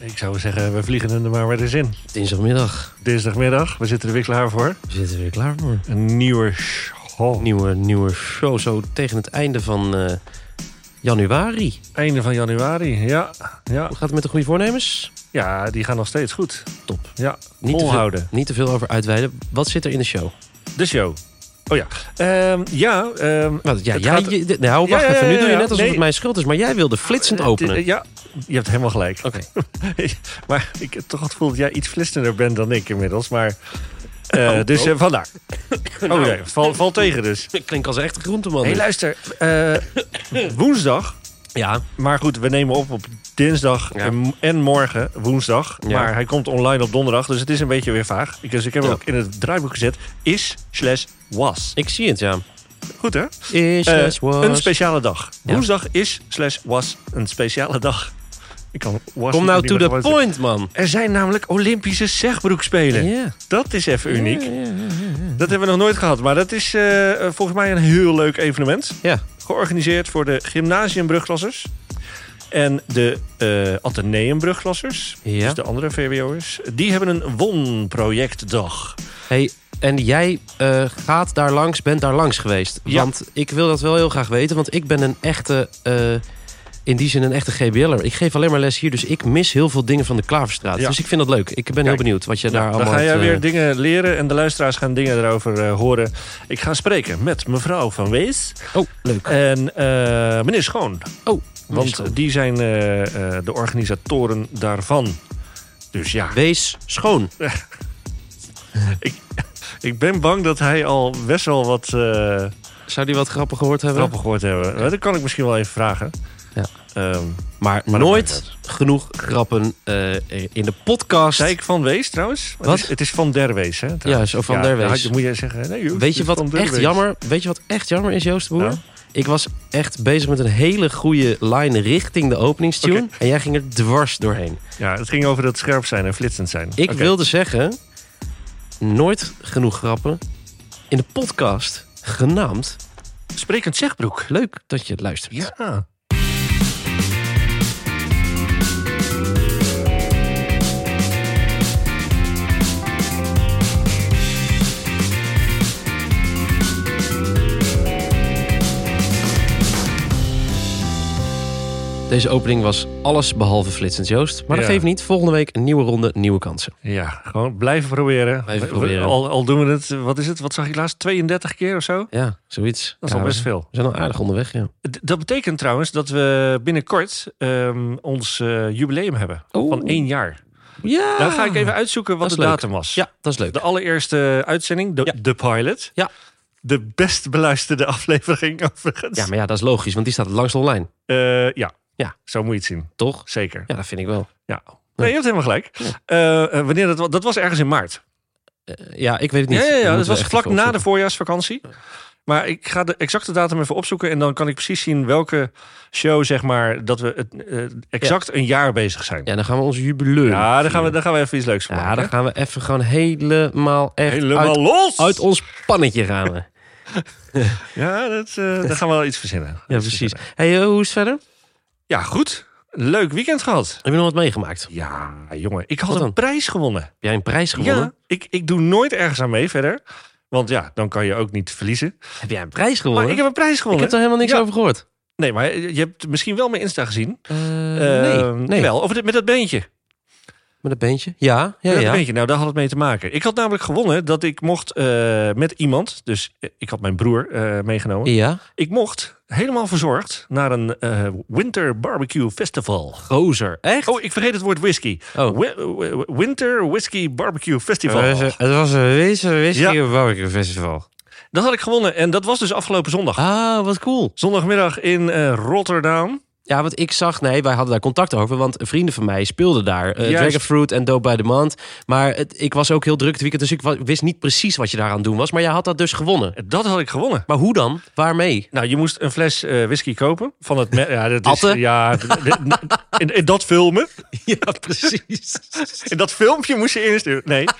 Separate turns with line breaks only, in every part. Ik zou zeggen, we vliegen hem er maar weer eens in.
Dinsdagmiddag.
Dinsdagmiddag, we zitten er weer klaar voor.
We zitten er weer klaar voor.
Een nieuwe show.
Nieuwe, nieuwe show. Zo tegen het einde van eh, januari.
Einde van januari, ja. ja.
Hoe gaat het met de goede voornemens?
Ja, die gaan nog steeds goed.
Top.
Ja,
Niet te, veel,
volhouden.
niet te veel over uitweiden. Wat zit er in de show?
De show. Oh ja. Ehm, ja, ehm,
Wat, ja,
Het
jij,
gaat-
je- de- nou,
Ja,
wacht
ja, ja,
even. Nu
ja,
doe je
ja.
net alsof
Nee.
het mijn schuld is. Maar jij wilde flitsend
eh,
openen.
eh, ja, je hebt helemaal gelijk.
Oké.
maar ik heb toch het gevoel dat jij iets flitsender bent dan ik inmiddels. Maar, eh, dus eh, vandaar.
Nou.
Oh nee, val, val tegen dus.
Ik klink als een echte groenteman.
Hé, hey, luister. eh, woensdag
ja,
Maar goed, we nemen op op dinsdag
Ja.
en, en morgen, woensdag.
Ja.
Maar hij komt online op donderdag, dus het is een beetje weer vaag. Ik, dus ik heb hem
Ja.
ook in het draaiboek gezet. Is slash was.
ik zie het, ja.
Goed hè?
Is
Eh,
less was.
Een speciale dag.
Ja.
Woensdag is slash was een speciale dag. Ik kan was
Kom nou
niet
to
meer
the
gewoon-
point, man.
Er zijn namelijk Olympische zegbroekspelen.
Ja.
Dat is even uniek. Dat hebben we nog nooit gehad. Maar dat is eh, volgens mij een heel leuk evenement
Ja.
georganiseerd voor de gymnasiumbrugklassers. En de eh Atheneumbrugklassers,
Ja.
dus de andere VWO'ers, die hebben een WON-projectdag.
Hey, en jij eh, gaat daar langs, bent daar langs geweest.
Ja.
Want ik wil dat wel heel graag weten, want ik ben een echte, eh, in die zin een echte GBL'er. Ik geef alleen maar les hier, dus ik mis heel veel dingen van de Klaverstraat.
Ja.
Dus ik vind dat leuk. Ik ben heel
Kijk.
benieuwd wat je daar
Nou, Dan
allemaal...
ga jij
hebt,
weer
eh,
dingen leren en de luisteraars gaan dingen erover eh, horen. Ik ga spreken met mevrouw Van Wees
Oh, leuk.
en eh, meneer Schoon.
Oh,
Want
meneer Schoon.
die zijn eh, eh, de organisatoren daarvan. Dus ja,
Wees schoon.
ik ben bang dat hij al best wel wat... eh,
Zou die wat grappig gehoord hebben?
grappig gehoord hebben. Nou, Dat kan ik misschien wel even vragen.
Ja.
Ehm,
Maar,
Maar dat maakt
nooit genoeg grappen eh, in de podcast.
Zei ik Van Wees trouwens? Het
Wat?
is, het is Van der Wees, hè?
Ja, zo Van der Wees.
had je- moet jij zeggen, nee, joh,
Weet je,
het is Van
wat
der
echt
Wees.
jammer, weet je wat echt jammer is, Joost de Boer?
Nou?
Ik was echt bezig met een hele goede line richting de openingstune.
Oké.
En jij ging er dwars doorheen.
Ja, het ging over dat scherp zijn en flitsend zijn.
Ik
Oké.
wilde zeggen, nooit genoeg grappen in de podcast genaamd.
Sprekend Zegbroek.
Leuk dat je luistert.
Ja.
Deze opening was alles behalve flitsend, Joost. Maar dat
Ja.
geeft niet. Volgende week een nieuwe ronde, nieuwe kansen.
Ja, gewoon blijven proberen.
Blijven
We-
proberen.
Al, al doen we het, wat is het? Wat zag ik laatst? 32 keer of zo? Dat
Ja, zoiets.
is
Ja,
al
we-
best veel.
We zijn al aardig onderweg, ja.
D- dat betekent trouwens dat we binnenkort ehm, ons eh, jubileum hebben.
Oh.
Van één jaar.
Ja!
Dan ga ik even uitzoeken wat
Ah. dat
de
is leuk.
datum was.
Ja, dat is leuk.
De allereerste uitzending, de,
Ja.
de pilot.
Ja.
De best beluisterde aflevering overigens.
Ja, maar ja, dat is logisch, want die staat langs online,
Eh, ja.
Ja.
zo moet je het zien.
toch?
Zeker.
Ja, dat vind ik wel.
Ja. Nee, je hebt helemaal gelijk. Eh, eh, wanneer dat, wa- dat was ergens in maart.
Eh, ja, ik weet het niet.
ja, ja,
Moeten
ja,
we
dat was
echt
vlak
even
na de
opzoeken.
voorjaarsvakantie. Maar ik ga de exacte datum even opzoeken. En dan kan ik precies zien welke show, zeg maar, dat we het, eh, exact een jaar bezig zijn. Ja,
Ja, dan gaan we ons jubileum.
daar, gaan we, daar gaan we even iets leuks van
Ja,
maken.
dan gaan we even gewoon helemaal echt
Helemaal
uit,
los!
uit ons pannetje gaan we.
Ja, dat, eh, daar gaan we wel iets verzinnen.
Ja, precies. Hey, eh, hoe is het verder?
Ja, goed. Leuk weekend gehad.
Heb je nog wat meegemaakt? Heb
Ja, jongen. Ik
Wat
had een
dan?
prijs gewonnen.
jij een prijs gewonnen?
Ja, ik, ik doe nooit ergens aan mee verder. Want ja, dan kan je ook niet verliezen.
Heb jij een prijs
Maar
gewonnen?
ik heb een prijs
Ik
gewonnen.
heb er helemaal niks
Ja.
over gehoord.
Nee, maar je hebt misschien wel mijn Insta gezien.
Eh,
Eh,
nee, nee.
Wel, over dit, met dat beentje.
Met een beentje? Ja, ja,
Met
ja.
dat beentje. Nou, daar had het mee te maken. Ik had namelijk gewonnen dat ik mocht eh, met iemand... Dus eh, ik had mijn broer eh, meegenomen.
Ja,
Ik mocht, helemaal verzorgd, naar een eh, Winter Barbecue Festival.
gozer. Echt?
Oh, ik vergeet het woord whisky.
Oh.
Wi- wi- Winter Whisky Barbecue Festival.
Eh, was een wezen,
Ja.
barbecue festival.
Dat had ik gewonnen en dat was dus afgelopen zondag.
Ah, wat cool.
Zondagmiddag in eh, Rotterdam.
Ja, want ik zag, nee, wij hadden daar contact over, want vrienden van mij speelden daar. eh,
Juist.
Dragonfruit en Dope by the Month. Maar het, ik was ook heel druk het weekend, dus ik wa- wist niet precies wat je daar aan het doen was. Maar jij had dat dus gewonnen.
Dat had ik gewonnen.
Maar hoe dan? Waarmee?
Nou, je moest een fles eh, whisky kopen van het. me- Ja, dat is,
Atten?
ja in, in- in dat filmen.
Ja, precies.
In dat filmpje moest je insturen. Nee.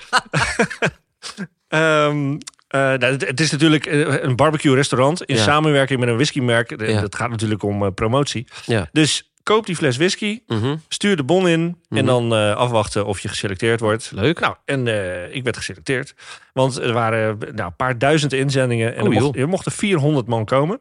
Ehm, eh, nou, het- het is natuurlijk eh, een barbecue restaurant in
Ja.
samenwerking met een whiskymerk. De-
Ja.
Dat gaat natuurlijk om eh, promotie.
Ja.
Dus koop die fles whisky,
Mhm.
stuur de bon in
Mhm.
en dan eh, afwachten of je geselecteerd wordt.
Leuk.
Nou, en eh, ik werd geselecteerd. Want er waren eh, nou, een paar duizend inzendingen. En
Oh,
er, mocht-
joh.
er mochten 400 man komen.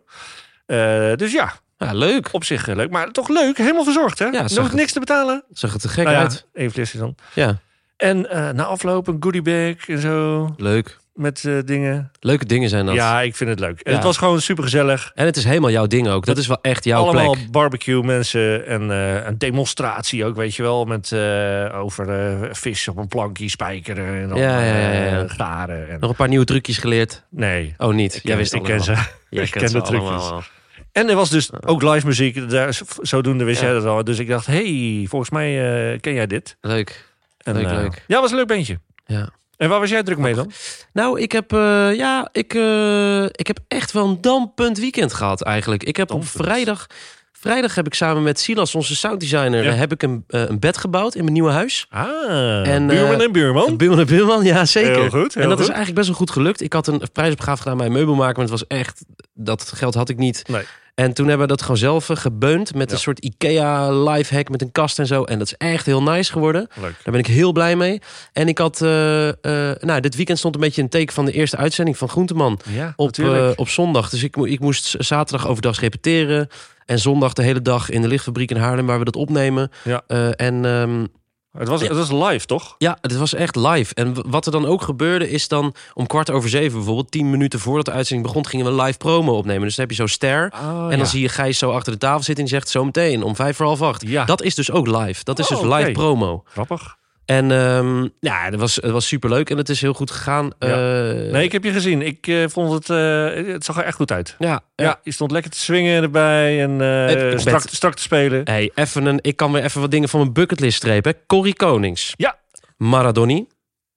Eh, dus ja,
Ja, leuk.
op zich eh, leuk. Maar toch leuk, helemaal verzorgd hè?
Ja,
Ja,
zag het.
niks te betalen.
Zag het er gek
Nou ja,
uit.
één flesje dan.
Ja,
En eh, na afloop een goodiebag en zo.
leuk.
Met eh, dingen.
Leuke dingen zijn dat.
Ja, ik vind het leuk. En
Ja.
het was gewoon super gezellig.
En het is helemaal jouw ding ook. Dat is wel echt jouw
Allemaal
plek.
barbecue mensen en eh, een demonstratie ook, weet je wel. Met eh, over eh, vis op een plankje spijkeren en dan
Ja, ja, ja, ja.
eh, garen. En...
Nog een paar nieuwe trucjes geleerd.
Nee,
Oh, niet. Jij
ken-
wist
ik eh,
allemaal.
ken ze.
Jij
Ik
kent
ken
ze
de trucjes.
allemaal wel.
En er was dus ook live muziek. Daar, zodoende wist
Ja.
jij dat al. Dus ik dacht, hey, volgens mij eh, ken jij dit.
Leuk.
En,
Leuk,
eh,
leuk.
Ja, was een leuk bandje.
Ja.
En waar was jij druk mee dan?
Nou, ik heb, eh, ja, ik, eh, ik heb echt wel een dampunt weekend gehad eigenlijk. Ik heb op
Dampunt.
vrijdag, vrijdag heb ik samen met Silas, onze sounddesigner,
Ja.
heb ik een, eh, een bed gebouwd in mijn nieuwe huis.
Ah,
En,
buurman
eh,
en buurman.
Buurman en buurman, ja zeker.
Oh. Heel goed, heel
en dat is
goed.
eigenlijk best wel goed gelukt. Ik had een prijsopgave gedaan bij een meubelmaker, maar het was echt, dat geld had ik niet.
Nee.
En toen hebben we dat gewoon zelf eh, gebeund met
Ja.
een soort Ikea lifehack met een kast en zo. En dat is echt heel nice geworden.
Leuk.
Daar ben ik heel blij mee. En ik had, eh, eh, nou, dit weekend stond een beetje een teken van de eerste uitzending van Groenteman
Ja,
op,
natuurlijk.
eh, op zondag. Dus ik, mo- ik moest z- zaterdag overdag repeteren. En zondag de hele dag in de lichtfabriek in Haarlem, waar we dat opnemen.
Ja.
Eh, en ehm,
het, was,
ja.
het was live, toch?
ja, het was echt live. En w- wat er dan ook gebeurde, is dan om kwart over zeven bijvoorbeeld, tien minuten voordat de uitzending begon, gingen we een live promo opnemen. Dus dan heb je zo'n ster.
Oh,
en dan zie je Gijs zo achter de tafel zitten en die zegt zo meteen om vijf voor half acht.
Ja.
Dat is dus ook live. Dat is
Oh,
dus live
oké.
promo.
Grappig.
En ehm, ja, het was, het was superleuk en het is heel goed gegaan.
Ja.
Eh,
Nee, ik heb je gezien. Ik eh, vond het... eh, het zag er echt goed uit.
ja,
Ja, je stond lekker te swingen erbij en eh,
Het- ik
strak,
ben-
strak te spelen.
Hey, even een, ik kan weer even wat dingen van mijn bucketlist strepen. hè. Corrie Konings.
Ja.
Maradoni.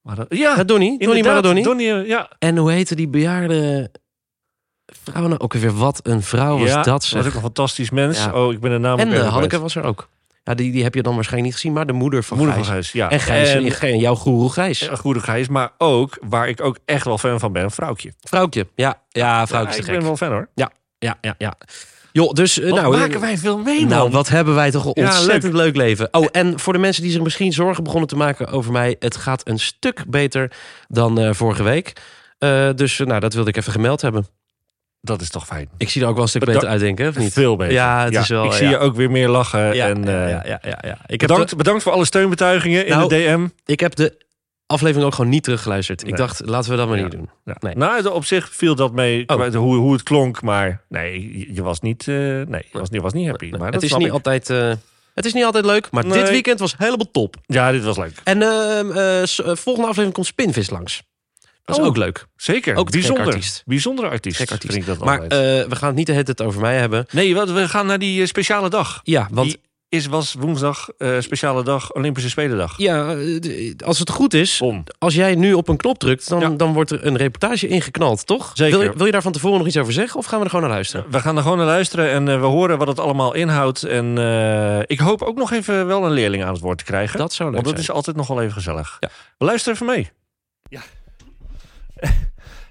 Maar dat- ja,
Ah, Donnie. Donnie
inderdaad,
Maradoni.
Donnie, ja.
En hoe heette die bejaarde vrouw nou ook weer? Wat een vrouw was
ja,
dat
Oh, was
zeg.
ook een fantastisch mens.
Ja.
Oh, ik ben de naam
En
ook even
eh, Hanneke
kwijt.
was er ook. Ja, die, die heb je dan waarschijnlijk niet gezien, maar de moeder van
Moeder
Gijs.
van Gijs, ja.
En Gijs, en, Gijs- jouw goeroe Gijs.
een goede Gijs, maar ook, waar ik ook echt wel fan van ben, een vrouwtje.
Vrouwtje. Ja, ja
Ja,
vrouwtje
ik
is te
ben
gek.
wel fan hoor.
Ja, ja, ja. Joh, dus eh,
Wat
nou...
maken wij veel mee,
Nou,
man.
wat hebben wij toch een
Ja,
ontzettend leuk. leven. Oh, en voor de mensen die zich misschien zorgen begonnen te maken over mij... het gaat een stuk beter dan eh, vorige week. Eh, dus eh, nou, dat wilde ik even gemeld hebben.
Dat is toch fijn.
Ik zie er ook wel een stuk
Bedankt.
beter uit, denk ik, hè, of niet?
Veel beter.
Ja, het is wel,
Ik
ja.
zie je ook weer meer lachen.
Ja,
en,
ja,
eh,
ja, ja, ja, ja. Ik, heb
bedankt,
de,
bedankt voor alle steunbetuigingen
Nou,
in de DM.
ik heb de aflevering ook gewoon niet teruggeluisterd. Ik
Nee.
dacht, laten we dat maar
Ja.
niet doen.
Ja.
Nee.
Nou, op zich viel dat mee
Oh.
qua- hoe, hoe het klonk, maar nee, je- je was niet, eh, nee, je was, niet- was niet happy. Maar dat
het, is
snap
niet
ik.
altijd, eh, het is niet altijd leuk, maar dit
Nee.
weekend was helemaal top.
Ja, dit was leuk.
En ehm, eh, s- eh, volgende aflevering komt Spinvis langs. Dat is
Oh.
ook leuk.
Zeker.
Ook te gek
bijzonder.
artiest.
Bijzondere artiest.
Gek artiest.
Vind ik dat
Maar
altijd.
eh, we gaan het niet de hele tijd over mij hebben.
nee, wat, we gaan naar die eh, speciale dag.
Ja, want
Die is, was woensdag eh, speciale dag Olympische Spelendag.
Ja, eh, d- als het goed is,
Bom.
als jij nu op een knop drukt, dan,
Ja.
dan wordt er een reportage ingeknald, toch?
Zeker.
Wil, je- wil je daar van tevoren nog iets over zeggen of gaan we er gewoon naar luisteren?
We gaan er gewoon naar luisteren en eh, we horen wat het allemaal inhoudt. En eh, ik hoop ook nog even wel een leerling aan het woord te krijgen.
Dat zou leuk
want dat
zijn.
is altijd nog wel even gezellig.
Ja.
We luisteren even mee.
Ja.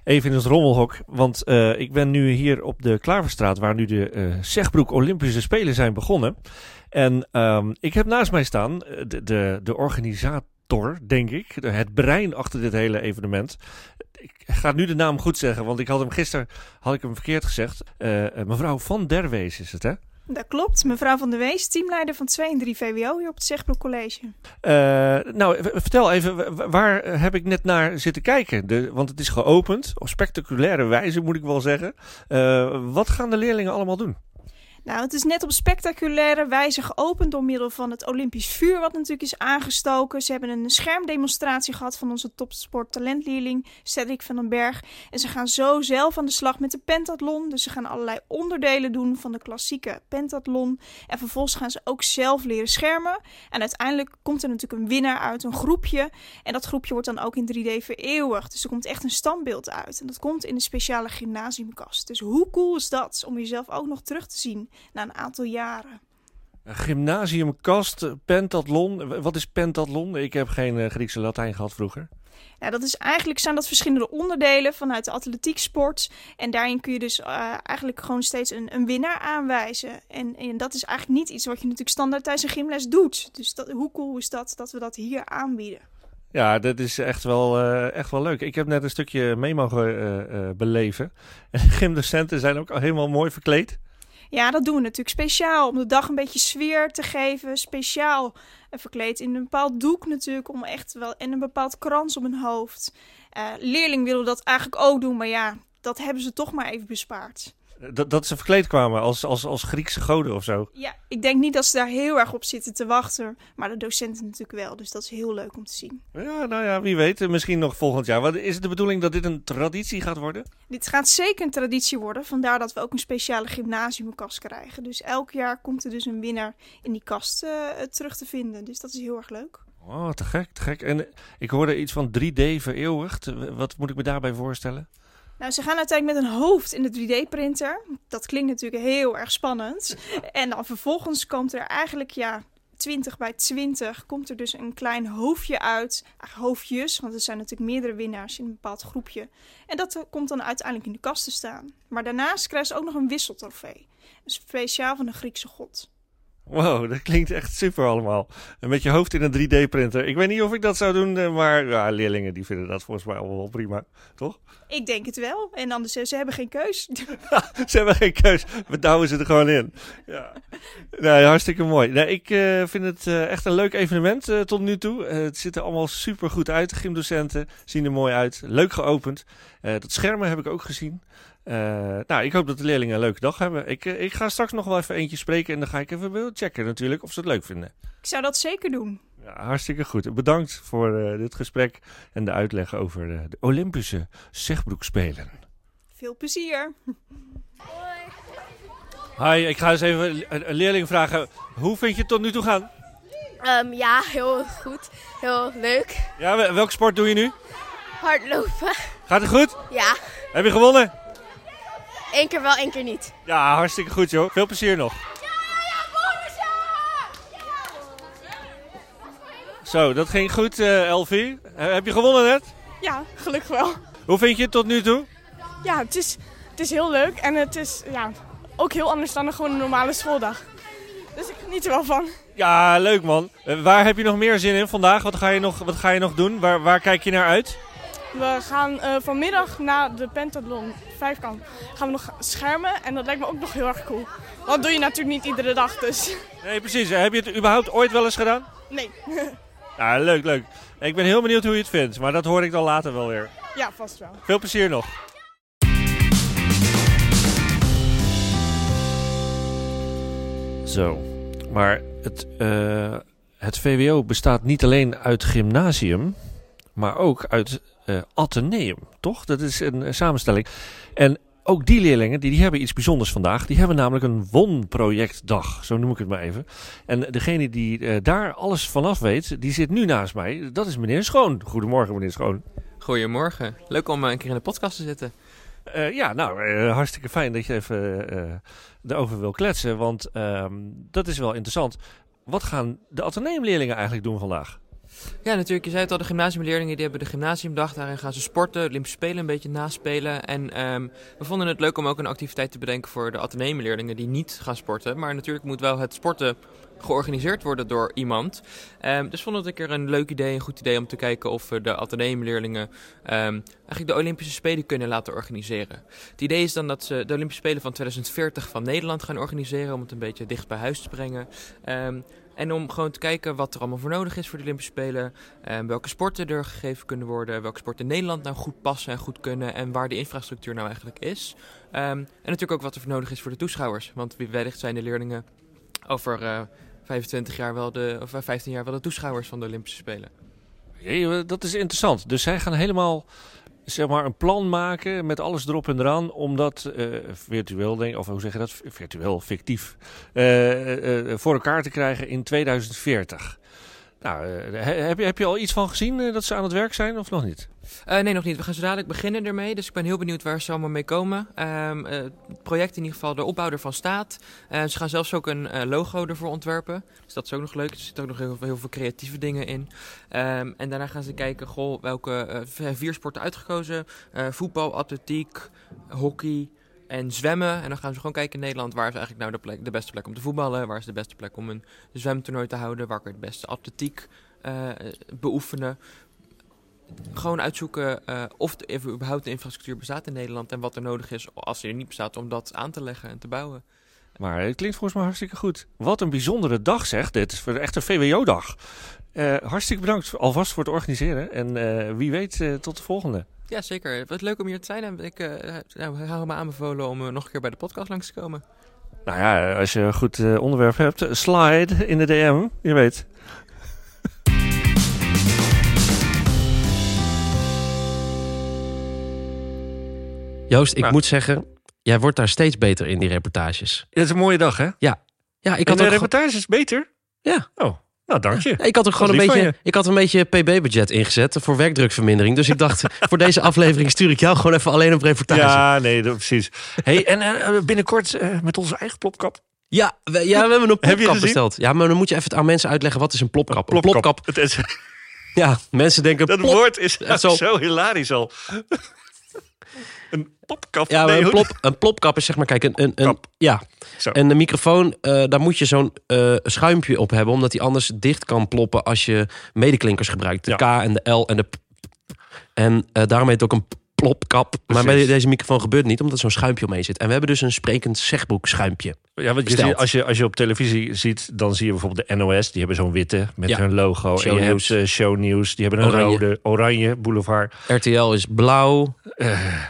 Even in het rommelhok, want eh, ik ben nu hier op de Klaverstraat, waar nu de eh Zegbroek Olympische Spelen zijn begonnen. En ehm, ik heb naast mij staan eh, de, de, de organisator, denk ik, de- het brein achter dit hele evenement. Ik ga nu de naam goed zeggen, want ik had hem gisteren had ik hem verkeerd gezegd. Eh, eh, mevrouw Van Derwees is het, hè?
Dat klopt. Mevrouw van der Wees, teamleider van 2 en 3 VWO hier op het Zegbroek College.
Eh, nou, v- vertel even, w- w- waar eh, heb ik net naar zitten kijken? De, want het is geopend, op spectaculaire wijze moet ik wel zeggen. Eh, wat gaan de leerlingen allemaal doen?
Nou, het is net op spectaculaire wijze geopend door middel van het Olympisch vuur, wat natuurlijk is aangestoken. Ze hebben een schermdemonstratie gehad van onze topsporttalentleerling Cedric van den Berg. En ze gaan zo zelf aan de slag met de pentathlon. Dus ze gaan allerlei onderdelen doen van de klassieke pentathlon. En vervolgens gaan ze ook zelf leren schermen. En uiteindelijk komt er natuurlijk een winnaar uit een groepje. En dat groepje wordt dan ook in 3D vereeuwigd. Dus er komt echt een standbeeld uit. En dat komt in een speciale gymnasiumkast. Dus hoe cool is dat om jezelf ook nog terug te zien na een aantal jaren?
Gymnasiumkast, pentathlon. W- Wat is pentathlon? Ik heb geen eh, Griekse Latijn gehad vroeger.
Ja, Nou, dat is eigenlijk zijn dat verschillende onderdelen vanuit de atletieksport. En daarin kun je dus eh, eigenlijk gewoon steeds een, een winnaar aanwijzen. En, en dat is eigenlijk niet iets wat je natuurlijk standaard tijdens een gymles doet. Dus dat, hoe cool is dat dat we dat hier aanbieden?
Ja, dat is echt wel, eh, echt wel leuk. Ik heb net een stukje mee mogen eh, eh, beleven. En de gymdocenten zijn ook al helemaal mooi verkleed.
Ja, dat doen we natuurlijk speciaal om de dag een beetje sfeer te geven. Speciaal eh, verkleed in een bepaald doek natuurlijk om echt wel en een bepaald krans op hun hoofd. Eh leerling willen dat eigenlijk ook doen, maar ja, dat hebben ze toch maar even bespaard.
Dat, dat ze verkleed kwamen als, als, als Griekse goden of zo.
Ja, ik denk niet dat ze daar heel erg op zitten te wachten, maar de docenten natuurlijk wel, dus dat is heel leuk om te zien.
Ja, nou ja, wie weet. Misschien nog volgend jaar. Wat, is het de bedoeling dat dit een traditie gaat worden?
Dit gaat zeker een traditie worden, vandaar dat we ook een speciale gymnasiumkast krijgen. Dus elk jaar komt er dus een winnaar in die kast eh, terug te vinden, dus dat is heel erg leuk.
Oh, te gek, te gek. En eh, ik hoorde iets van 3D vereeuwigd. Wat moet ik me daarbij voorstellen?
Nou, ze gaan uiteindelijk met een hoofd in de 3D-printer. Dat klinkt natuurlijk heel erg spannend. En dan vervolgens komt er eigenlijk, ja, 20 bij 20, komt er dus een klein hoofdje uit. Eigenlijk Hoofdjes, want er zijn natuurlijk meerdere winnaars in een bepaald groepje. En dat eh, komt dan uiteindelijk in de kast te staan. Maar daarnaast krijgt ze ook nog een wisseltrofee. Speciaal van de Griekse god.
Wow, dat klinkt echt super allemaal. En met je hoofd in een 3D-printer. Ik weet niet of ik dat zou doen, eh, maar ja, leerlingen die vinden dat volgens mij allemaal wel prima. Toch?
Ik denk het wel. En anders, eh, ze hebben geen keus.
Ze hebben geen keus. We douwen ze er gewoon in. Ja. Nou, hartstikke mooi. Nou, ik eh, vind het eh, echt een leuk evenement eh, tot nu toe. Eh, het ziet er allemaal super goed uit. De gymdocenten zien er mooi uit. Leuk geopend. Eh, dat schermen heb ik ook gezien. Eh, nou, ik hoop dat de leerlingen een leuke dag hebben. Ik, eh, ik ga straks nog wel even eentje spreken en dan ga ik even wel checken natuurlijk of ze het leuk vinden.
Ik zou dat zeker doen.
Ja, hartstikke goed. Bedankt voor eh, dit gesprek en de uitleg over eh, de Olympische Zegbroekspelen.
Veel plezier.
Hi, ik ga eens even een- een leerling vragen. Hoe vind je het tot nu toe gaan?
Ehm, ja, heel goed. Heel leuk.
Ja, wel- welke sport doe je nu?
Hardlopen.
Gaat het goed?
Ja,
Heb je gewonnen?
één keer wel, één keer niet.
Ja, hartstikke goed joh. Veel plezier nog. Zo, dat ging goed, eh Elfie. Eh, heb je gewonnen net?
Ja, gelukkig wel.
Hoe vind je het tot nu toe?
Ja, het is, het is heel leuk en het is ja, ook heel anders dan een gewoon een normale schooldag. Dus ik geniet er wel van.
Ja, leuk man. Eh, waar heb je nog meer zin in vandaag? Wat ga je nog, wat ga je nog doen? Waar, waar kijk je naar uit?
We gaan eh, vanmiddag naar de pentathlon, vijfkamp, gaan we nog schermen en dat lijkt me ook nog heel erg cool. Want dat doe je natuurlijk niet iedere dag, dus
Nee, precies. Eh, Heb je het überhaupt ooit wel eens gedaan?
nee.
Ja, leuk, leuk. Ik ben heel benieuwd hoe je het vindt, maar dat hoor ik dan later wel weer.
Ja, vast wel.
Veel plezier nog. Zo, maar het, eh, het VWO bestaat niet alleen uit gymnasium, maar ook uit eh ateneum, toch? Dat is een eh, samenstelling. En ook die leerlingen, die, die hebben iets bijzonders vandaag. Die hebben namelijk een WON-projectdag, zo noem ik het maar even. En degene die eh, daar alles vanaf weet, die zit nu naast mij. Dat is meneer Schoon. Goedemorgen, meneer Schoon.
Goedemorgen. Leuk om eh, een keer in de podcast te zitten.
Eh, ja, nou, eh, hartstikke fijn dat je even eh erover wil kletsen. Want ehm, dat is wel interessant. Wat gaan de ateneumleerlingen eigenlijk doen vandaag?
Ja, natuurlijk. Je zei het al, de gymnasiumleerlingen die hebben de gymnasiumdag. Daarin gaan ze sporten, Olympische Spelen een beetje naspelen. En ehm, we vonden het leuk om ook een activiteit te bedenken voor de ateneumleerlingen die niet gaan sporten. Maar natuurlijk moet wel het sporten georganiseerd worden door iemand. Ehm, dus vond ik er een leuk idee, een goed idee om te kijken of we de ateneumleerlingen ehm, eigenlijk de Olympische Spelen kunnen laten organiseren. Het idee is dan dat ze de Olympische Spelen van 2040 van Nederland gaan organiseren om het een beetje dicht bij huis te brengen. Ehm, en om gewoon te kijken wat er allemaal voor nodig is voor de Olympische Spelen. En welke sporten er gegeven kunnen worden. Welke sporten in Nederland nou goed passen en goed kunnen. En waar de infrastructuur nou eigenlijk is. Ehm, en natuurlijk ook wat er voor nodig is voor de toeschouwers. Want wie wellicht zijn de leerlingen over eh, 25 jaar wel de, of eh, 15 jaar wel de toeschouwers van de Olympische Spelen.
Jee, eh, dat is interessant. Dus zij gaan helemaal zeg maar, een plan maken met alles erop en eraan. Om dat eh, virtueel, denk, of hoe zeg je dat? Virtueel, fictief. eh, eh, eh, voor elkaar te krijgen in 2040. Nou, eh, he- heb, je, heb je al iets van gezien eh, dat ze aan het werk zijn of nog niet?
Eh, nee, nog niet. We gaan zo dadelijk beginnen ermee. Dus ik ben heel benieuwd waar ze allemaal mee komen. Ehm, eh, het project in ieder geval, de opbouw ervan staat. Eh, ze gaan zelfs ook een eh, logo ervoor ontwerpen. Dus dat is ook nog leuk. Er zitten ook nog heel, heel veel creatieve dingen in. Ehm, en daarna gaan ze kijken, goh, welke eh, v- vier sporten uitgekozen. Eh, voetbal, atletiek, hockey en zwemmen. En dan gaan ze gewoon kijken in Nederland, waar is eigenlijk nou de, plek, de beste plek om te voetballen? Waar is de beste plek om een zwemtoernooi te houden? Waar kun je het beste atletiek eh, beoefenen? gewoon uitzoeken eh, of de, of überhaupt de infrastructuur bestaat in Nederland en wat er nodig is als die er niet bestaat om dat aan te leggen en te bouwen.
Maar het klinkt volgens mij hartstikke goed. Wat een bijzondere dag zeg. Dit is voor- echt een VWO-dag. Eh, hartstikke bedankt alvast voor het organiseren. En eh, wie weet eh, tot de volgende.
Ja, zeker. Wat leuk om hier te zijn. En ik eh nou, hou me aanbevolen om eh, nog een keer bij de podcast langs te komen.
Nou ja, als je een goed eh, onderwerp hebt, slide in de DM. Je weet.
Joost, ik
Nou.
moet zeggen, jij wordt daar steeds beter in die reportages.
Het is een mooie dag, hè?
Ja, ik
En
had
de
ook, ge-
reportage is beter?
Ja.
Oh, nou dank je.
ik had ook gewoon een
lief van
beetje, ik had een beetje PB-budget ingezet voor werkdrukvermindering. Dus ik dacht, voor deze aflevering stuur ik jou gewoon even alleen op reportage.
Ja, nee, dat, precies. Hey, en eh, binnenkort eh, met onze eigen plopkap.
Ja, we, ja, we hebben een
je
plopkap
gezien?
besteld. Ja, maar dan moet je even aan mensen uitleggen wat is een plopkap. Een plopkap.
Het is,
Ja, mensen denken
dat
plop.
woord is
Echt zo.
zo hilarisch al. een plopkap.
Ja, maar
nee,
een,
hoe-
plop, een plopkap is zeg maar, kijk, een, een, een,
Kap.
ja.
Zo.
en een microfoon, eh, daar moet je zo'n eh, schuimpje op hebben, omdat die anders dicht kan ploppen als je medeklinkers gebruikt. De
Ja.
K en de L en de P. En eh, daarom heet het ook een plopkap. Maar bij
Precies.
deze microfoon gebeurt het niet, omdat zo'n schuimpje omheen zit. En we hebben dus een sprekend zegboek schuimpje.
Ja, want je
Besteld.
ziet- als, je, als je op televisie ziet, dan zie je bijvoorbeeld de NOS. Die hebben zo'n witte met
Ja.
hun logo. en je
Shownieuws.
hebt eh, shownieuws. Die hebben een
Oranje.
rode, oranje boulevard.
RTL is blauw.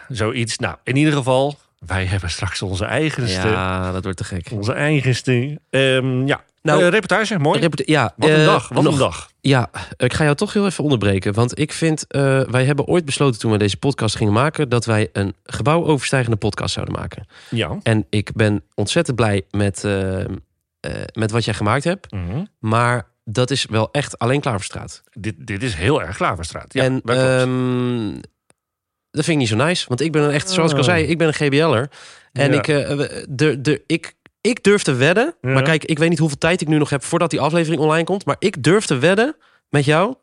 Zoiets. Nou, in ieder geval, wij hebben straks onze eigenste.
Ja, dat wordt te gek.
Onze eigenste. Ehm ja,
Nou,
nou, reportage, mooi.
Repute- Ja,
wat een
eh,
dag, wat
nog-
een dag.
Ja, ik ga jou toch heel even onderbreken. Want ik vind, eh, wij hebben ooit besloten toen we deze podcast gingen maken... dat wij een gebouwoverstijgende podcast zouden maken.
Ja.
En ik ben ontzettend blij met, eh, eh, met wat jij gemaakt hebt.
Mhm.
Maar dat is wel echt alleen Klaverstraat.
Dit, dit is heel erg Klaverstraat. Ja,
en
dat klopt.
ehm, dat vind ik niet zo nice. Want ik ben een echt, zoals ik al
Oh.
zei, ik ben een GBL'er. En
Ja.
ik, eh, we- de, de, ik, ik durf te wedden.
Ja.
Maar kijk, ik weet niet hoeveel tijd ik nu nog heb voordat die aflevering online komt. Maar ik durf te wedden met jou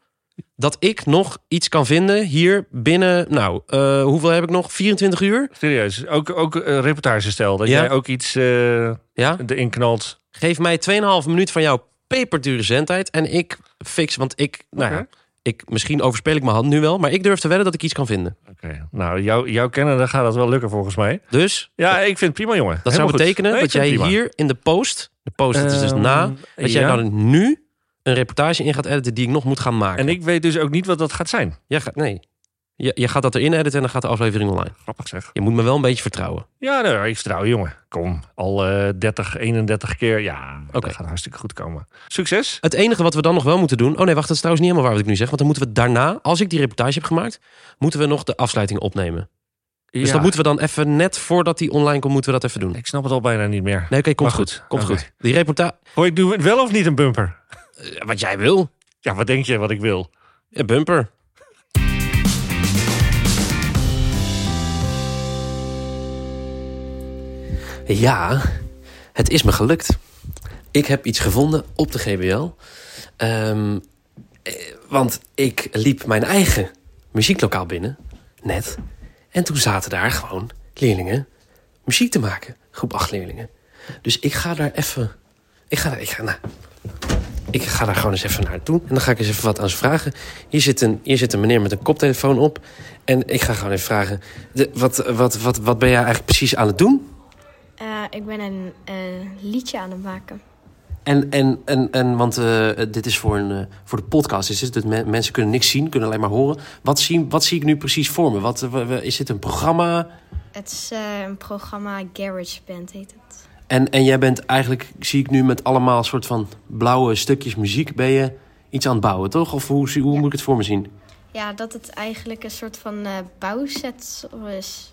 dat ik nog iets kan vinden hier binnen. Nou, eh, hoeveel heb ik nog? 24 uur?
Serieus, ook, ook eh, reportagestijl. Dat
Ja.
jij ook iets eh
Ja.
erin knalt.
Geef mij 2,5 minuut van jouw peperdure zendtijd. En ik fix, want ik, nou ja,
Oké.
ik, misschien overspeel ik mijn hand nu wel. Maar ik durf te wedden dat ik iets kan vinden.
Oké, nou, jou, jouw kennen, dan gaat dat wel lukken volgens mij.
Dus
Ja, ik vind het prima, jongen.
dat
Helemaal
zou
goed.
betekenen
Nee, ik
dat
vind
jij
het prima.
hier in de post, de post, dat is dus
Ehm,
na, dat jij nou
ja.
dan nu een reportage in gaat editen die ik nog moet gaan maken.
En ik weet dus ook niet wat dat gaat zijn.
Jij gaat, nee. Je, je gaat dat erin editen en dan gaat de aflevering online.
Grappig zeg.
Je moet me wel een beetje vertrouwen.
Ja, nou, ik vertrouw je, jongen. Kom, al eh 30, 31 keer. Ja,
Oké.
dat gaat hartstikke goed komen. Succes.
Het enige wat we dan nog wel moeten doen... Oh nee, wacht, dat is trouwens niet helemaal waar wat ik nu zeg. Want dan moeten we daarna, als ik die reportage heb gemaakt... moeten we nog de afsluiting opnemen. Dus
Ja,
dat moeten we dan even net voordat die online komt... moeten we dat even doen. Nee,
Ik snap het al bijna niet meer.
oké, komt
Maar
goed.
goed,
Komt
oké.
goed. Die reportage...
Hoor ik nu wel of niet een bumper?
Wat jij wil.
Ja, wat denk je wat ik wil?
Een bumper. Ja, het is me gelukt. Ik heb iets gevonden op de GBL. Ehm, eh, want ik liep mijn eigen muzieklokaal binnen, net. En toen zaten daar gewoon leerlingen muziek te maken. Groep 8 leerlingen. Dus ik ga daar even... Ik ga daar... Ik ga, nou, ik ga daar gewoon eens even naartoe. En dan ga ik eens even wat aan ze vragen. Hier zit een, hier zit een meneer met een koptelefoon op. En ik ga gewoon even vragen... De, wat, wat, wat, wat ben jij eigenlijk precies aan het doen?
Eh, ik ben een, een liedje aan het maken.
En, en, en, en want eh, dit is voor, een, eh, voor de podcast. Is dit, dat me- mensen kunnen niks zien, kunnen alleen maar horen. Wat zie, wat zie ik nu precies voor me? Wat, eh, wa- wa- is dit een programma?
Het is eh, een programma Garage Band heet het.
En, en jij bent eigenlijk, zie ik nu met allemaal soort van blauwe stukjes muziek... ben je iets aan het bouwen, toch? Of hoe, zie- hoe moet ik het voor me zien?
Ja, dat het eigenlijk een soort van eh bouwset is.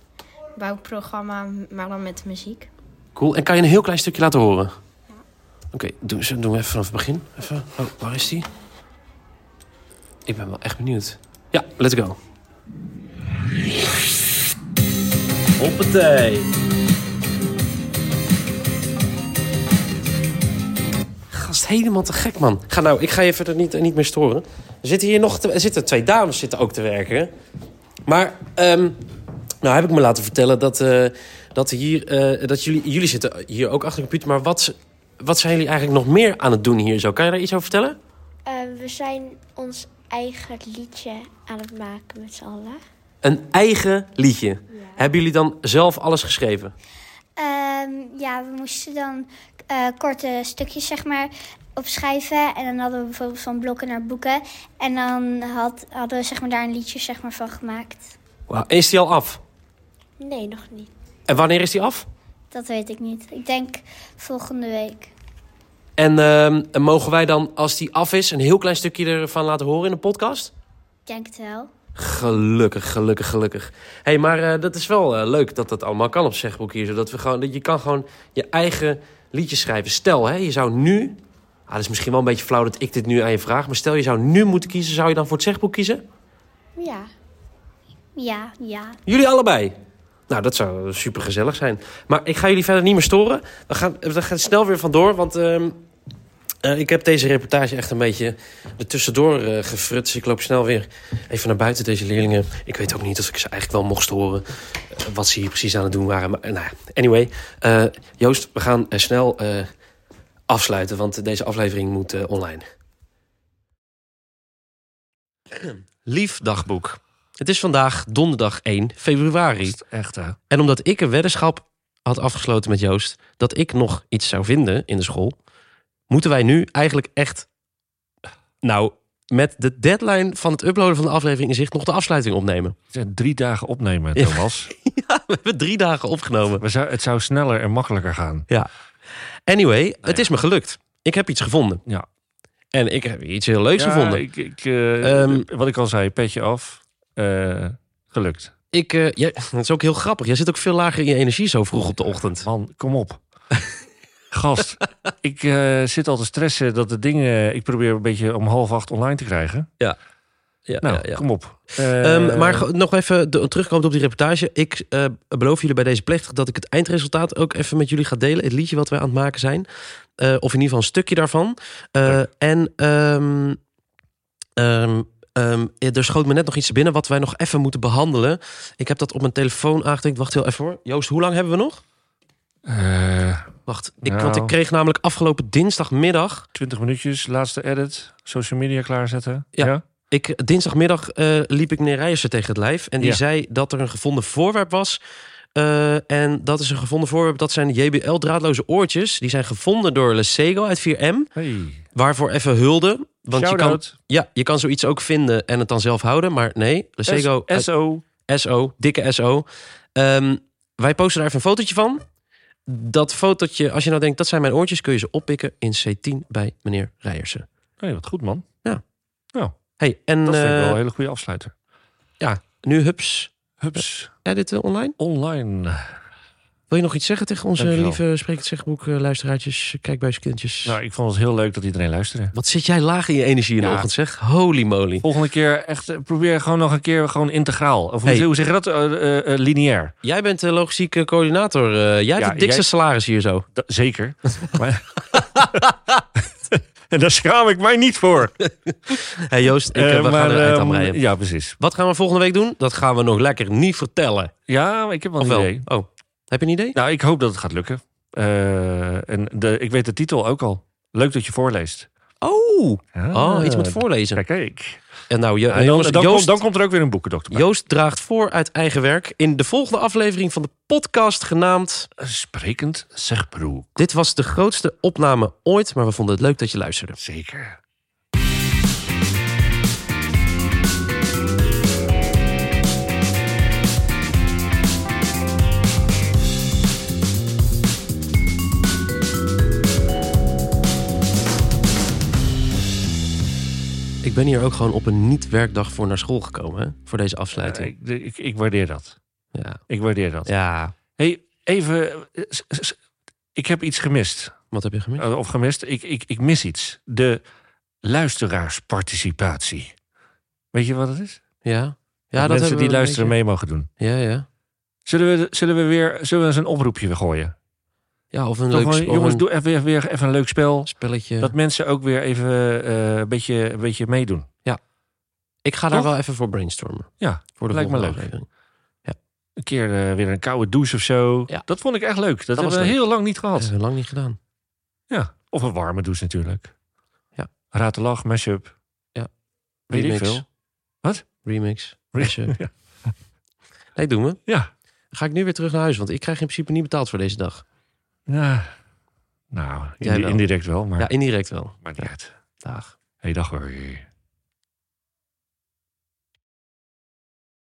Bouwprogramma, maar dan met muziek.
Cool. En kan je een heel klein stukje laten horen? Oké, doen, doen we even vanaf het begin. Even. Oh, waar is die? Ik ben wel echt benieuwd. Ja, let's go. Hoppatee. Gast, helemaal te gek, man. Ga nou, ik ga je verder niet, niet meer storen. Er zitten hier nog te- er zitten twee dames zitten ook te werken. hè. Maar, ehm, nou heb ik me laten vertellen dat, eh, dat, hier, eh, dat jullie, jullie zitten hier ook achter de computer. Maar wat, wat zijn jullie eigenlijk nog meer aan het doen hier zo? Kan je daar iets over vertellen?
Ehm, we zijn ons eigen liedje aan het maken met z'n allen.
Een eigen liedje. Hebben jullie dan zelf alles geschreven?
Ehm, ja, we moesten dan eh, korte stukjes zeg maar opschrijven. En dan hadden we bijvoorbeeld van blokken naar boeken. En dan had, hadden we zeg maar, daar een liedje zeg maar, van gemaakt.
Wauw, Is die al af?
Nee, nog niet.
En wanneer is die af?
Dat weet ik niet. Ik denk volgende week.
En ehm, en mogen wij dan, als die af is, een heel klein stukje ervan laten horen in de podcast?
Ik denk het wel.
Gelukkig, gelukkig, gelukkig. Hé, hey, maar eh, dat is wel eh, leuk dat dat allemaal kan op Zegboek hier. Zodat we gewoon, dat je kan gewoon je eigen liedjes schrijven. Stel, hè, je zou nu... Ah, dat is misschien wel een beetje flauw dat ik dit nu aan je vraag. Maar stel, je zou nu moeten kiezen. Zou je dan voor het Zegboek kiezen?
Ja. Ja, ja.
Jullie allebei? Nou, dat zou super gezellig zijn. Maar ik ga jullie verder niet meer storen. We gaan, we gaan snel weer vandoor, want... ehm, eh, ik heb deze reportage echt een beetje ertussendoor eh gefrut. Dus ik loop snel weer even naar buiten deze leerlingen. Ik weet ook niet of ik ze eigenlijk wel mocht horen. eh, wat ze hier precies aan het doen waren. Maar eh, nou, ja, anyway. eh, Joost, we gaan eh, snel eh, afsluiten. Want deze aflevering moet eh, online. Lief dagboek. Het is vandaag donderdag 1 februari.
Echt, eh, hè?
En omdat ik een weddenschap had afgesloten met Joost dat ik nog iets zou vinden in de school, moeten wij nu eigenlijk echt. Nou, met de deadline van het uploaden van de aflevering in zicht nog de afsluiting opnemen.
Het zijn drie dagen opnemen,
Ja.
Thomas.
Ja, we hebben drie dagen opgenomen.
We zou, het zou sneller en makkelijker gaan.
Anyway, het is me gelukt. Ik heb iets gevonden.
Ja.
En ik heb iets heel leuks
Ja,
gevonden. Ik,
Ik, ik, eh,
Ehm,
wat ik al zei, petje af. Eh, gelukt.
eh, jij- het is ook heel grappig. Jij zit ook veel lager in je energie zo vroeg op de ochtend.
Man, kom op. Gast, ik eh, zit al te stressen dat de dingen... Ik probeer een beetje om half acht online te krijgen.
Ja,
Nou,
ja, ja.
kom op. Eh,
Ehm, maar ge- nog even de, terugkomend op die reportage. Ik eh, beloof jullie bij deze plechtig dat ik het eindresultaat ook even met jullie ga delen. Het liedje wat wij aan het maken zijn. Eh, of in ieder geval een stukje daarvan. Eh, En ehm, ehm, ehm, ja, er schoot me net nog iets te binnen wat wij nog even moeten behandelen. Ik heb dat op mijn telefoon aangetekend. Wacht heel even hoor. Joost, hoe lang hebben we nog?
eh,
Wacht, ik,
Nou.
want ik kreeg namelijk afgelopen dinsdagmiddag
20 minuutjes, laatste edit. Social media klaarzetten.
Ja.
Ja.
Ik, dinsdagmiddag eh, liep ik meneer Rijersen tegen het lijf. En die
Ja.
zei dat er een gevonden voorwerp was. Eh, en dat is een gevonden voorwerp. Dat zijn JBL draadloze oortjes. Die zijn gevonden door Lesego uit 4M.
Hey,
Waarvoor even hulde. Want je kan,
shout-out.
ja, je kan zoiets ook vinden en het dan zelf houden. Maar nee, Lesego
S- SO.
uit- SO, dikke SO. Ehm, wij posten daar even een fotootje van. Dat fotootje, als je nou denkt dat zijn mijn oortjes... kun je ze oppikken in C10 bij meneer Rijersen.
Hey, wat goed, man.
Hey, en
Dat vind ik wel
eh,
een hele goede afsluiter.
nu hups...
Hups,
Jij dit eh, online?
online.
Wil je nog iets zeggen tegen onze
Dankjewel.
lieve Spreek het Zegboek eh, luisteraartjes, kijkbuiskindjes?
Nou, ik vond het heel leuk dat iedereen luisterde.
Wat zit jij laag in je energie in de
Ja.
ochtend, zeg. Holy moly.
Volgende keer echt eh, probeer gewoon nog een keer gewoon integraal. Of hoe-
Hey.
hoe zeg je dat? Eh, eh, eh, lineair.
Jij bent de logistieke coördinator. eh, jij hebt
Ja,
het dikste
jij-
salaris hier zo.
Da- zeker. maar... en daar schaam ik mij niet voor.
hey Joost, ik, eh,
Eh,
we gaan er eind aan
ehm,
breien.
ja, precies.
Wat gaan we volgende week doen? Dat gaan we nog lekker niet vertellen.
Ja, maar ik heb wel
Of
een
wel?
idee.
Oh, heb je een idee?
Nou, ik hoop dat het gaat lukken. Eh, en de, ik weet de titel ook al. Leuk dat je voorleest.
Oh, oh iets met
Ah,
voorlezen.
Kijk, kijk.
En nou, je,
Ja, en dan,
jongens,
dan,
Joost,
komt, dan komt er ook weer een boekendokter bij.
Joost draagt voor uit eigen werk in de volgende aflevering van de podcast genaamd...
Eh, Sprekend zegbroek.
Dit was de grootste opname ooit, maar we vonden het leuk dat je luisterde.
Zeker.
Ik ben hier ook gewoon op een niet-werkdag voor naar school gekomen. Hè? Voor deze afsluiting.
Ja, Eh, ik, ik, ik waardeer dat.
Ja.
Ik waardeer dat.
ja.
Hey, even. eh, s- s- s- Ik heb iets gemist.
Wat heb je gemist?
Eh, Of gemist. Ik, ik, ik mis iets. De luisteraarsparticipatie. Weet je wat het is?
Ja, ja
dat mensen
hebben
die
we een
luisteren
beetje.
mee mogen doen.
Ja, ja.
Zullen we, zullen we weer zullen we eens een oproepje weer gooien?
Ja, of een
Zo
leuk
gewoon,
sp- of
jongens,
een
doe even, weer- weer even een leuk spel.
spelletje.
Dat mensen ook weer even eh, een, beetje, een beetje meedoen.
Ik ga daar
Toch?
wel even voor brainstormen.
Ja,
voor de
lijkt me
volgende
leuk.
aflevering.
Een keer eh, weer een koude douche of zo.
Ja.
Dat vond ik echt leuk. Dat,
was
hebben we
leuk.
heel lang niet
Dat
gehad.
hebben we lang niet gedaan.
Ja. Of een warme douche natuurlijk.
Ja.
Raad de lach, mashup.
Ja.
Weet ik
Remix.
veel. Wat?
Remix.
Re-
Mashup.
Ja.
Nee, doen we.
Ja.
Dan ga ik nu weer terug naar huis, want ik krijg in principe niet betaald voor deze dag.
Ja. Nou,
Jij
indi-
wel.
indirect wel, maar,
Ja, indirect wel.
maar niet uit.
Dag.
Hey, dag hoor.